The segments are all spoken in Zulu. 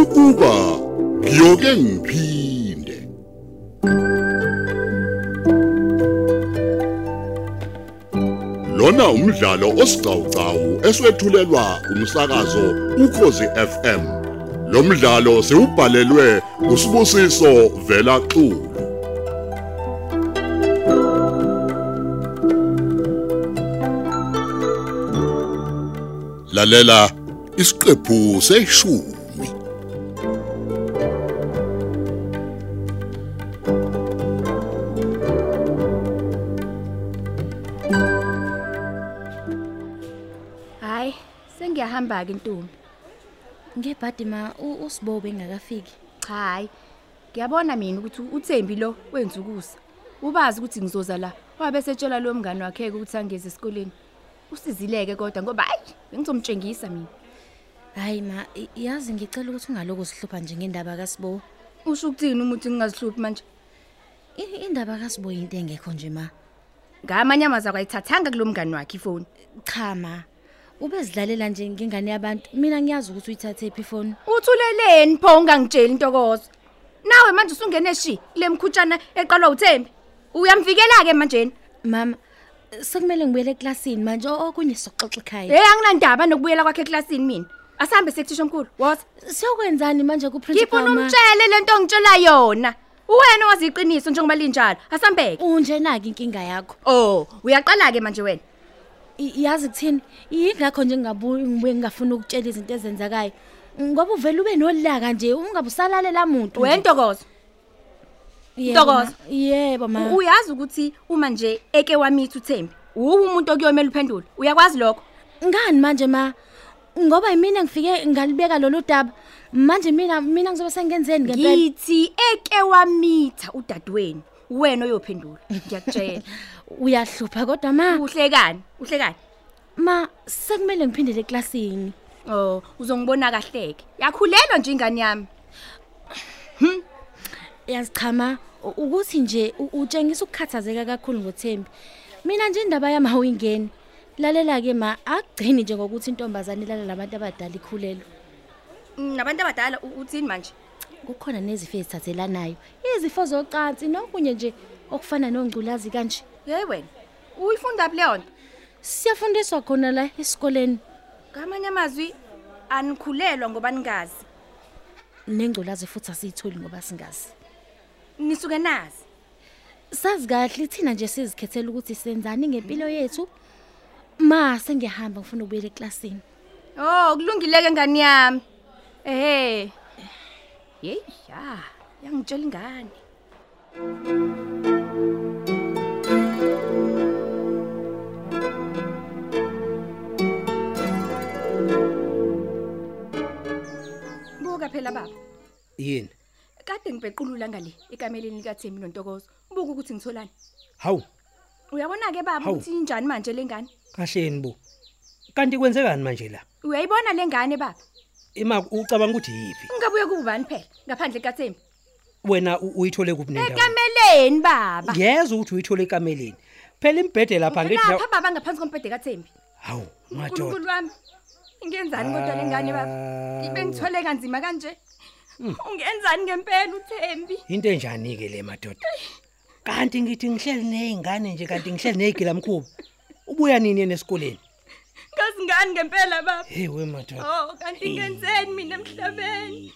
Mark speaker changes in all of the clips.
Speaker 1: ukuba ngiyoke ngiphinde lona umdlalo osiqhawqhawo eswethulelwa umsakazo ukhozi FM lo mdlalo siubhalelwe usibusiso vela xulu lalela isiqephu seshumi
Speaker 2: Hayi, sengiyahamba ke Ntombi.
Speaker 3: ngebhadi ma u- usibo bengakafiki
Speaker 2: Cha hayi. Ngiyabona mina ukuthi uThembi lo wenza ukusa. Ubazi ukuthi ngizoza la. Wabe setshela lo mngane wakhe ukuthi angeze esikoleni. Usizileke kodwa ngoba hayi, bengizomtshengisa mina.
Speaker 3: hayi ma i- yazi ngicela ukuthi ungaloko sihlupha nje ngendaba kasibo
Speaker 2: Usho ukuthini umuthi ngingazihluphi manje?
Speaker 3: I- indaba kasibo yinto engekho nje ma
Speaker 2: Ngamanye amazwi akayithathanga kulo mngane wakhe ifoni.
Speaker 3: cha ma ubezidlalela nje ngengane yabantu mina ngiyazi ukuthi uyithathe phi ifoni
Speaker 2: Uthuleleni pho ungangitsheli intokozo. Nawe manje usungene shi kule mkhutshana eqalwa uThembi. Uyamvikela ke manje.
Speaker 3: mama sekumele ngibuyele eklasini manje o- okunye soxoxa ekhaya
Speaker 2: Hey anginandaba nokubuyela kwakhe eklasini mina. Asihambe sekuthisha omkhulu. Woza.
Speaker 3: siyokwenzani manje
Speaker 2: Ngifuna
Speaker 3: kuprincipal ma
Speaker 2: umtshele lento ngitshela yona. Uwena waziqiniso njengoba linjalo. Asambeke.
Speaker 3: unjenaki inkinga yakho
Speaker 2: Oh, uyaqala ke manje wena.
Speaker 3: I- yazi kuthini yingakho nje ngingabuye ngibuye ngingafuni ukutshela izinto ezenzakayo ngoba uvele ube nolaka nje ungabe usalalela muntu nje.
Speaker 2: Wentokozo.
Speaker 3: Yebo,
Speaker 2: Ntokozo.
Speaker 3: ma. yebo ma
Speaker 2: Uyazi ukuthi uma nje eke wamithi uThembi, uwu umuntu okuyomela uphendule. Uyakwazi lokho?
Speaker 3: ngani manje ma ngoba yimina engifike ngalibeka lolu daba manje mina mina ngizobe sengenzeni ngempela
Speaker 2: Ngithi eke wamitha udadweni, wena oyophendula. Ngiyakutshela.
Speaker 3: uyahlupha kodwa ma
Speaker 2: Uhlekani? Uhlekani?
Speaker 3: ma sekumele ngiphindele eklasini
Speaker 2: Oh, uzongibona kahleke. Yakhulelwa nje ingane yami.
Speaker 3: yazichama u- ukuthi nje u- utshengisa ukukhathazeka kakhulu ngothembi mina nje indaba yami awuyingeni lalela-ke ma akugcini nje ngokuthi intombazane ilala labantu abadala ikhulelwe
Speaker 2: Mm, Nabantu abadala u- uthini manje?
Speaker 3: kukhona nezifo ezithathelanayo izifo zocansi nokunye nje okufana nongculazi kanje
Speaker 2: Hey wena. Uyifunda phi leyo nto?
Speaker 3: siyafundiswa khona la esikoleni
Speaker 2: Ngamanye amazwi anikhulelwa ngoba ningazi.
Speaker 3: nengculazi futhi asiyitholi ngoba singazi
Speaker 2: Nisuke nazi.
Speaker 3: sazi kahle thina nje sizikhethela ukuthi senzani ngempilo yethu ma sengiyahamba ngifuna ukubuyela eklasini
Speaker 2: Oh, kulungileke ngani yami. Ehhe. Hey, ya, yangitshela ingane. Buka phela baba.
Speaker 4: yini
Speaker 2: Kade ngibhequlula ngale ekameleni likaThembi noNtokozo. Buka ukuthi ngitholani.
Speaker 4: hawu
Speaker 2: Uyabona ke baba
Speaker 4: Hawu.
Speaker 2: ukuthi injani manje lengane?
Speaker 4: kahle yini bo kanti kwenzekani manje la
Speaker 2: Uyayibona lengane baba?
Speaker 4: ima ucabanga ukuthi yiphi
Speaker 2: Ungabuye kubani phela ngaphandle kaThembi?
Speaker 4: wena u- uyithole kuphi nendawo
Speaker 2: Ekameleni baba.
Speaker 4: ngiyeza ukuthi uyithole ekameleni phela imbhede lapha ngithi
Speaker 2: Lapha baba ngaphansi kompede kaThembi.
Speaker 4: hawu madoda
Speaker 2: uNkulunkulu wami. Ingenzani kodwa lengane baba?
Speaker 4: Hawu.
Speaker 2: Ibengithole kanzima kanje.
Speaker 4: Hmm.
Speaker 2: Ungenzani ngempela uThembi?
Speaker 4: into enjani ke le madoda kanti ngithi ngihleli nezingane nje kanti ngihleli negila mkhuba ubuya nini yena esikoleni
Speaker 2: Ngazingani ngempela baba?
Speaker 4: hey we madoda
Speaker 2: Oh, kanti ngenzeni mina emhlabeni?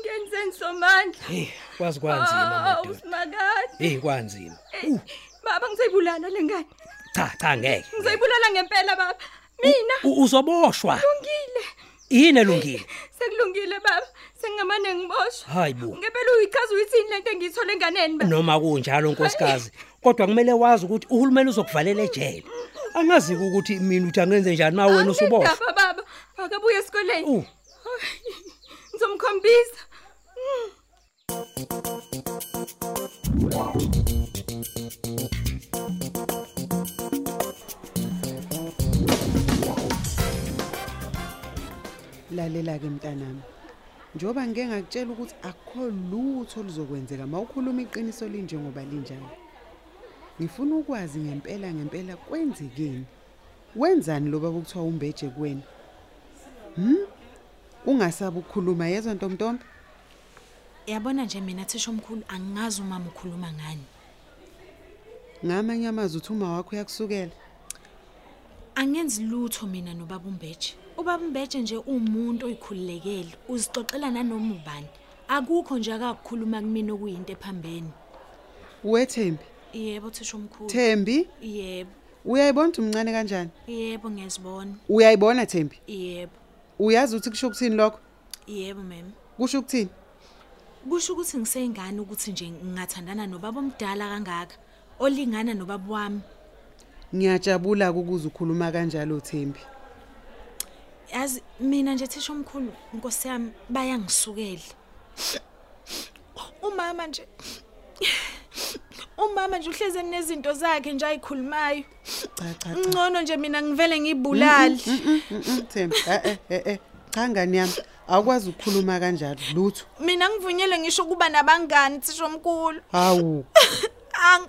Speaker 2: Ngenzeni somandla?
Speaker 4: hey kwazi kwanzima
Speaker 2: Oh,
Speaker 4: madoda
Speaker 2: usimakade.
Speaker 4: hey kwanzima Uh,
Speaker 2: Baba ngisayibulala lengane.
Speaker 4: cha cha ngeke
Speaker 2: Ngisayibulala ngempela baba.
Speaker 4: Hmm?
Speaker 2: Mina
Speaker 4: U- uzoboshwa
Speaker 2: ngilungile.
Speaker 4: yini elungile
Speaker 2: Sekulungile baba. Sengamane ngiboshwa.
Speaker 4: hayi bo
Speaker 2: Ngempela uyichaza uyithini lento engiyithole enganeni baba?
Speaker 4: noma kunjalo nkosikazi kodwa kumele wazi ukuthi uhulumeni uzokuvalela ejele angazi ukuthi mina uthi angenze njani mawe wena usuboshwa
Speaker 2: Angidaba, baba. Akabuye esikoleni.
Speaker 4: Uh.
Speaker 2: Hayi, Ngizomkhombisa.
Speaker 5: lalela ke mntanami njoba ngeke ngakutshela ukuthi akukho lutho luzokwenzeka mawukhuluma iqiniso linjengoba linjalo ngifuna ukwazi ngempela ngempela kwenzekeni wenzani lo baba kuthiwa umbeje kuwena hm ungasaba ukukhuluma yezwa ntombtombe
Speaker 6: yabona nje mina thisha omkhulu angazi umama ukhuluma ngani
Speaker 5: ngamanye amazwi uthi uma wakho uyakusukela
Speaker 6: angenzi lutho mina nobaba umbeje ubaba umbeje nje umuntu oyikhululekele uzixoxela nanoma ubani akukho nje akakukhuluma kumina okuyinto ephambeni
Speaker 5: wethembi
Speaker 6: yebo thisha omkhulu
Speaker 5: thembi
Speaker 6: yebo
Speaker 5: uyayibona ukuthi umncane kanjani
Speaker 6: yebo ngiyazibona
Speaker 5: uyayibona thembi
Speaker 6: yebo
Speaker 5: uyazi ukuthi kusho ukuthini lokho
Speaker 6: yebo mem
Speaker 5: kusho ukuthini
Speaker 6: kusho ukuthi ngiseyingane ukuthi nje ngingathandana nobaba omdala kangaka olingana nobaba wami
Speaker 5: ngiyajabula-ke ukuze ukhuluma kanjalo thembi
Speaker 6: yazi mina nje thisha omkhulu nkosi yami bayangisukele umama nje umama nje uhleze nezinto zakhe nje ayikhulumayo
Speaker 5: cha cha cha
Speaker 6: ngcono nje mina ngivele ngibulali
Speaker 5: mm, thembi Eh, e-e e-e cha ngani yami awukwazi ukukhuluma kanjalo lutho
Speaker 6: mina ngivunyelwe ngisho ukuba nabangani thisha omkhulu
Speaker 5: hawu
Speaker 6: Ang-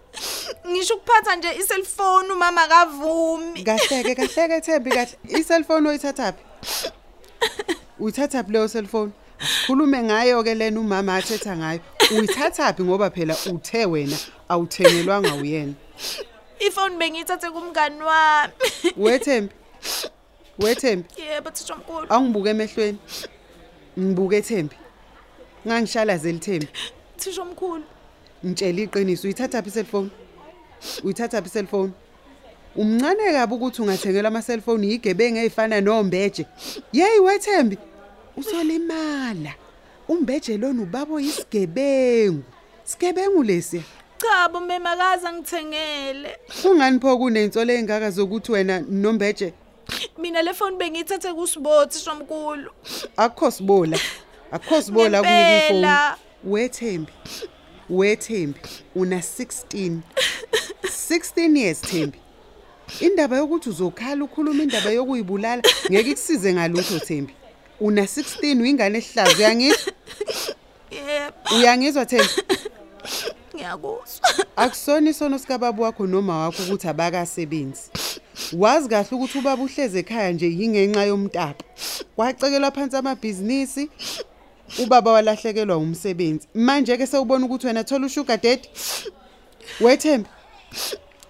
Speaker 6: ngisho ukuphatha nje iselfoni umama akavumi
Speaker 5: kahleke kahleke thembi kahle iselfoni oyithathaphi uyithathaphi leyo selfoni asikhulume ngayo-ke lena umama athetha ngayo uyithathaphi ngoba phela uthe wena awuthengelwanga uyena
Speaker 6: ifoni bengiyithathe kumngani wami
Speaker 5: wethembi wethembi
Speaker 6: yebo thisha omkhulu
Speaker 5: angibuke emehlweni ngibuke ethembi ngangishalazeli thembi
Speaker 6: thisha omkhulu
Speaker 5: ngitshela iqiniso uyithatha phi iselfoni uyithatha phi iselfoni umncane kabi ukuthi ungathengelwa amaselfoni yigebengu ey'fana nombeje yeyi wethembi usolimala umbeje lona ubaba oyisigebengu sigebengu lesiya
Speaker 6: cha bo memakaza ngithengele
Speaker 5: kungani pho kuney'nsolo ey'ngaka zokuthi wena nombeje
Speaker 6: mina le foni bengiyithathe kusibothi somkhulu
Speaker 5: akukho sibola akukho sibola kunika ifoni
Speaker 6: Ngempela.
Speaker 5: wethembi wethembi una 16 16 years thembi indaba yokuthi uzokhala ukhuluma indaba yokuyibulala ngeke ikusize ngalutho thembi una 16 uyingane esihlazi uyangizwa
Speaker 6: yebo
Speaker 5: uyangizwa thembi
Speaker 6: ngiyakuzwa
Speaker 5: akusona isono sikababa wakho noma wakho ukuthi abakasebenzi wazi kahle ukuthi ubaba uhleze ekhaya nje yingenxa yomtapo kwacekelwa phansi amabhizinisi ubaba walahlekelwa umsebenzi manje-ke sewubona ukuthi wena thola ushuga dedi wethembe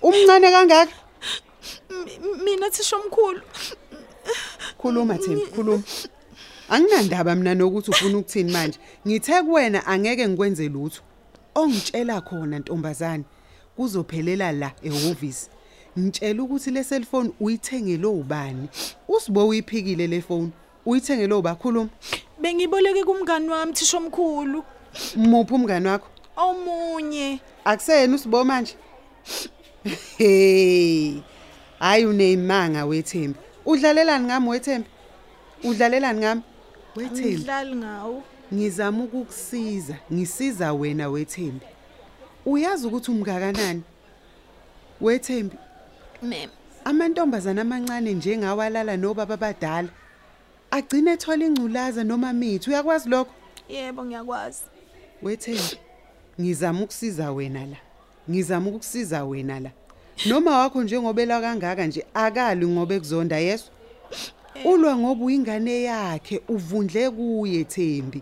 Speaker 5: umncane kangaka
Speaker 6: M- m- mina thisha omkhulu
Speaker 5: khuluma thembi khuluma anginandaba mina nokuthi ufuna ukuthini manje ngithe kuwena angeke ngikwenze lutho ongitshela khona ntombazane kuzophelela la ehhovisi ngitshela ukuthi le cellphone uyithengele ubani usibo uyiphikile le phone uyithengele ubakhuluma
Speaker 6: bengiyiboleke kumngani wami thisha omkhulu
Speaker 5: muphi umngani wakho
Speaker 6: omunye
Speaker 5: akuseyena usibo manje hey hayi uneyimanga wethembi udlalelani ngami wethembi udlalelani ngami wethembi
Speaker 6: ngidlali ngawo
Speaker 5: ngizama ukukusiza ngisiza wena wethembi uyazi ukuthi umngakanani wethembi
Speaker 6: mem
Speaker 5: amantombazana amancane njengawalala nobaba abadala agcine ethola ingculaza noma mithi uyakwazi lokho
Speaker 6: yebo ngiyakwazi
Speaker 5: wethembi ngizama ukusiza wena la ngizama ukukusiza wena la noma wakho njengobela kangaka nje akali ngobe kuzonda yeso ulwa ngoba uyingane yakhe uvundle kuye thembi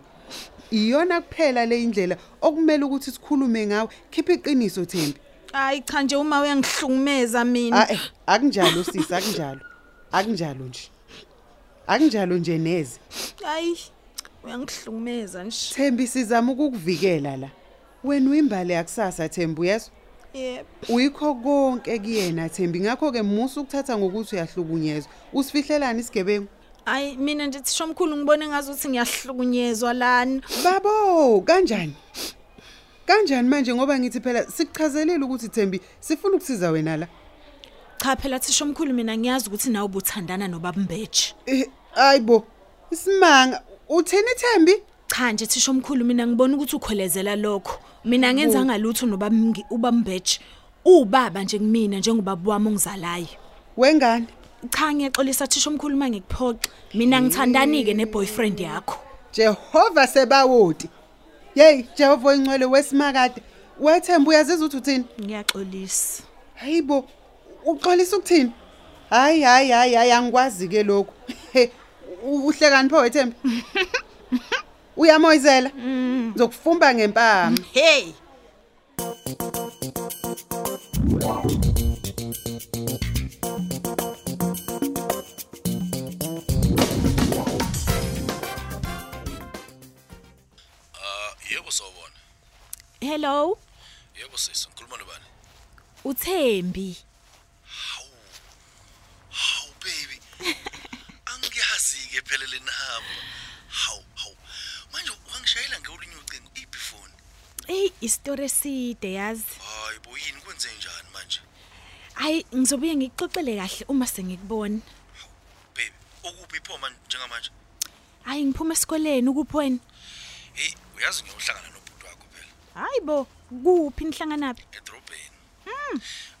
Speaker 5: iyona kuphela le indlela okumele ukuthi sikhulume ngawe khipha iqiniso thembi
Speaker 6: hayi cha nje uma uyangihlukumeza mina
Speaker 5: ae akunjalo sisi akunjalo akunjalo nje akunjalo nje neze
Speaker 6: hayi uyangihlukumeza nje
Speaker 5: thembi sizama ukukuvikela la wena uyimbali yakusasa thembi uyezwa
Speaker 6: yebo
Speaker 5: uyikho konke kuyena thembi ngakho-ke musa ukuthatha ngokuthi uyahlukunyezwa usifihlelani isigebengu
Speaker 6: hayi mina nje thisha omkhulu ngibone ngazuthi ngiyahlukunyezwa lana
Speaker 5: babo kanjani kanjani manje ngoba ngithi phela sikuchazelile ukuthi thembi sifuna ukusiza wena la
Speaker 6: cha phela thisha omkhulu mina ngiyazi ukuthi nawe ubuthandana nobaba mbeje
Speaker 5: Eh, hayi bo isimanga uthini thembi
Speaker 6: cha nje thisha omkhulu mina ngibona ukuthi ukholezela lokho mina ngenza ngalutho noba Mngi- uba mbetsh ubaba nje kumina njengobaba wami ongizalayo
Speaker 5: wengane
Speaker 6: cha ngiyaxolisa thisha omkhulu uma ngikuphoxa mina ngithandani-ke neboyfriend yakho
Speaker 5: jehova sebawoti yeyi jehova oyingcwele wesimakade wethembi uyaziza ukuthi uthini
Speaker 6: ngiyaxolisa
Speaker 5: hayi bo uxolisa ukuthini hayi hayi hayi hayi angikwazi-ke lokhu U- uhle kanti pho wethemba uyamoyizela ngizokufumba ngempama
Speaker 6: Hey,
Speaker 7: yebo sawubona
Speaker 6: hello.
Speaker 7: yebo sisi ngikhuluma nobani
Speaker 6: Uthembi.
Speaker 7: hawu baby angiyazi-ke phela le nihamba hawu hawu manje wangishayela ngeolinye ucingo ibifoni
Speaker 6: Ey, isitore side yazi.
Speaker 7: hayi bo yini kwenze njani manje
Speaker 6: Hayi, ngizobuye ngikuxoxele kahle uma sengikubona.
Speaker 7: baby okuphi pho manje njengamanje
Speaker 6: Hayi, ngiphuma esikoleni ukuphi wena?
Speaker 7: heyi uyazi ngiyohlangana nobhuti wakho phela
Speaker 6: Hayibo, kuphi nihlanganaphi?
Speaker 7: edrobheni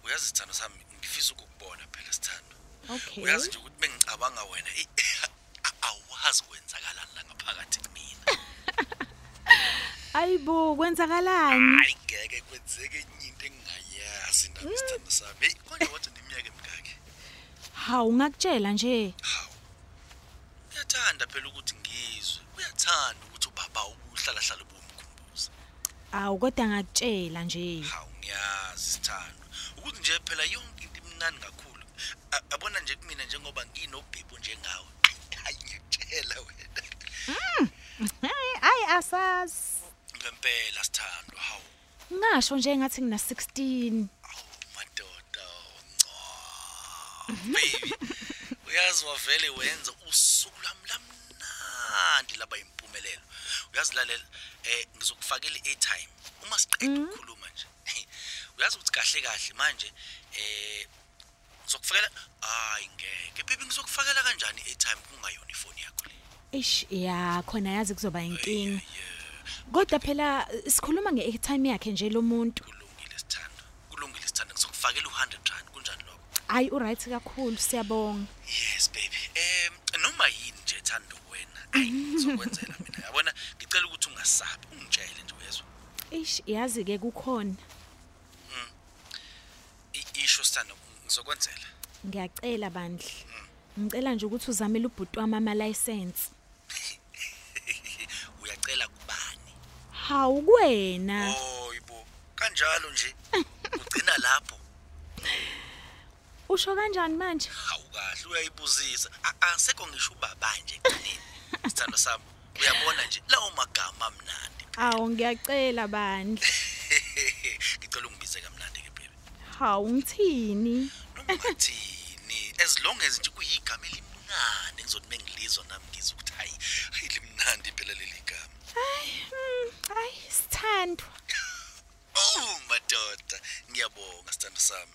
Speaker 7: uyazi sithando sami ngifisa ukukubona phela sithando
Speaker 6: Okay.
Speaker 7: uyazi nje ukuthi bengicabanga wena eyi, a- awazi kwenzakalani la ngaphakathi kumina
Speaker 6: Hayibo, kwenzakalani?
Speaker 7: hayi ngeke kwenzeke enye into engingayazi ndaba isithando sami heyi konje wathi neminyaka emingaki
Speaker 6: Hawu, ngakutshela nje.
Speaker 7: hawu uyathanda phela ukuthi ngizwe uyathanda ukuthi ubaba uhlalahlala ubumkhumbuza
Speaker 6: Awu, kodwa ngakutshela nje.
Speaker 7: hawu ngiyazi sithando ukuthi nje phela yonke into imnani kakhulu A- abona nje kumina njengoba nginobhebhu njengawe hayi ngiyakutshela wena
Speaker 6: Hayi, hayi asazi.
Speaker 7: ngempela sithando hawu
Speaker 6: Ngasho nje ngathi ngina 16.
Speaker 7: Awu, madoda ngco. Baby, uyazi wavele wenza usuku lami lamnandi laba impumelelo uyazilalela eh ngizokufakela i-airtime uma siqeda ukukhuluma nje uyazi ukuthi kahle kahle manje eh ngizokufakela hayi ngeke baby ngizokufakela kanjani i-airtime kungayona ifoni yakho le
Speaker 6: Eish, ya, khona yazi kuzoba inkinga.
Speaker 7: yeah
Speaker 6: Kodwa phela sikhuluma nge-airtime yakhe nje lo muntu.
Speaker 7: kulungile sithando kulungile sithando ngizokufakela u100 rand kunjani lokho
Speaker 6: Hayi, uright kakhulu, siyabonga.
Speaker 7: Yes baby. Em noma yini nje thando wena. Ayi ngizokwenzela mina. Yabona ngicela ukuthi ungasabi, ungitshele nje uyezwa.
Speaker 6: Eish, yazi ke kukhona.
Speaker 7: I- Isho sithando ngizokwenzela.
Speaker 6: Ngiyacela bandla. Ngicela nje ukuthi uzamele ubhuti wami ama license.
Speaker 7: Uyacela kubani?
Speaker 6: Hawu kuwena.
Speaker 7: Oh yibo. Kanjalo nje. Ugcina lapho.
Speaker 6: Usho kanjani manje?
Speaker 7: Hawu kahle uyayibuzisa. A- Asekho ngisho ubaba nje qinile. Sithando sami. Uyabona nje lawo magama amnandi.
Speaker 6: Awu ngiyacela bandla.
Speaker 7: Ngicela ungibize kamnandi ke baby.
Speaker 6: Hawu ngithini?
Speaker 7: Ngingathini? As long as nje kuyigama elimnandi ngizothi mengilizwa nami ngizwe ukuthi hayi hayi limnandi phela leli gama.
Speaker 6: Mm, Hayi sithandwa.
Speaker 7: Oh madoda, ngiyabonga sithando sami.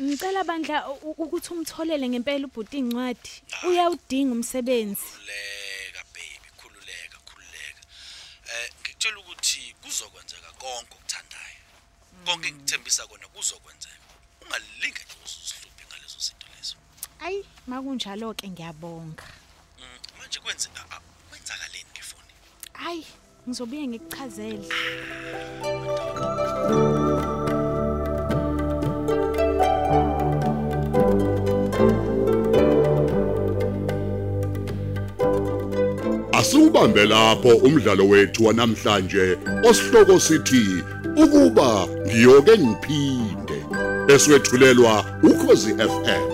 Speaker 6: Ngicela bandla u- u- ukuthi umtholele ngempela ubhuti incwadi. Uyawudinga umsebenzi.
Speaker 7: Khuleka baby, khululeka, khululeka. Eh ngikutshela ukuthi kuzokwenzeka konke okuthandayo. Konke engithembisa kona kuzokwenzeka. Ungalinge nje usihluphe ngalezo zinto lezo.
Speaker 6: Ayi makunjalo ke ngiyabonga.
Speaker 7: Mm, Manje kwenze a- a- kwenzakaleni ngefoni?
Speaker 6: Ayi ngizobuye ngikuchazele.
Speaker 1: Asubambe lapho umdlalo wethu wanamhlanje osihloko sithi ukuba ngiyoke ngiphinde eswetshulelwa ukhozi FM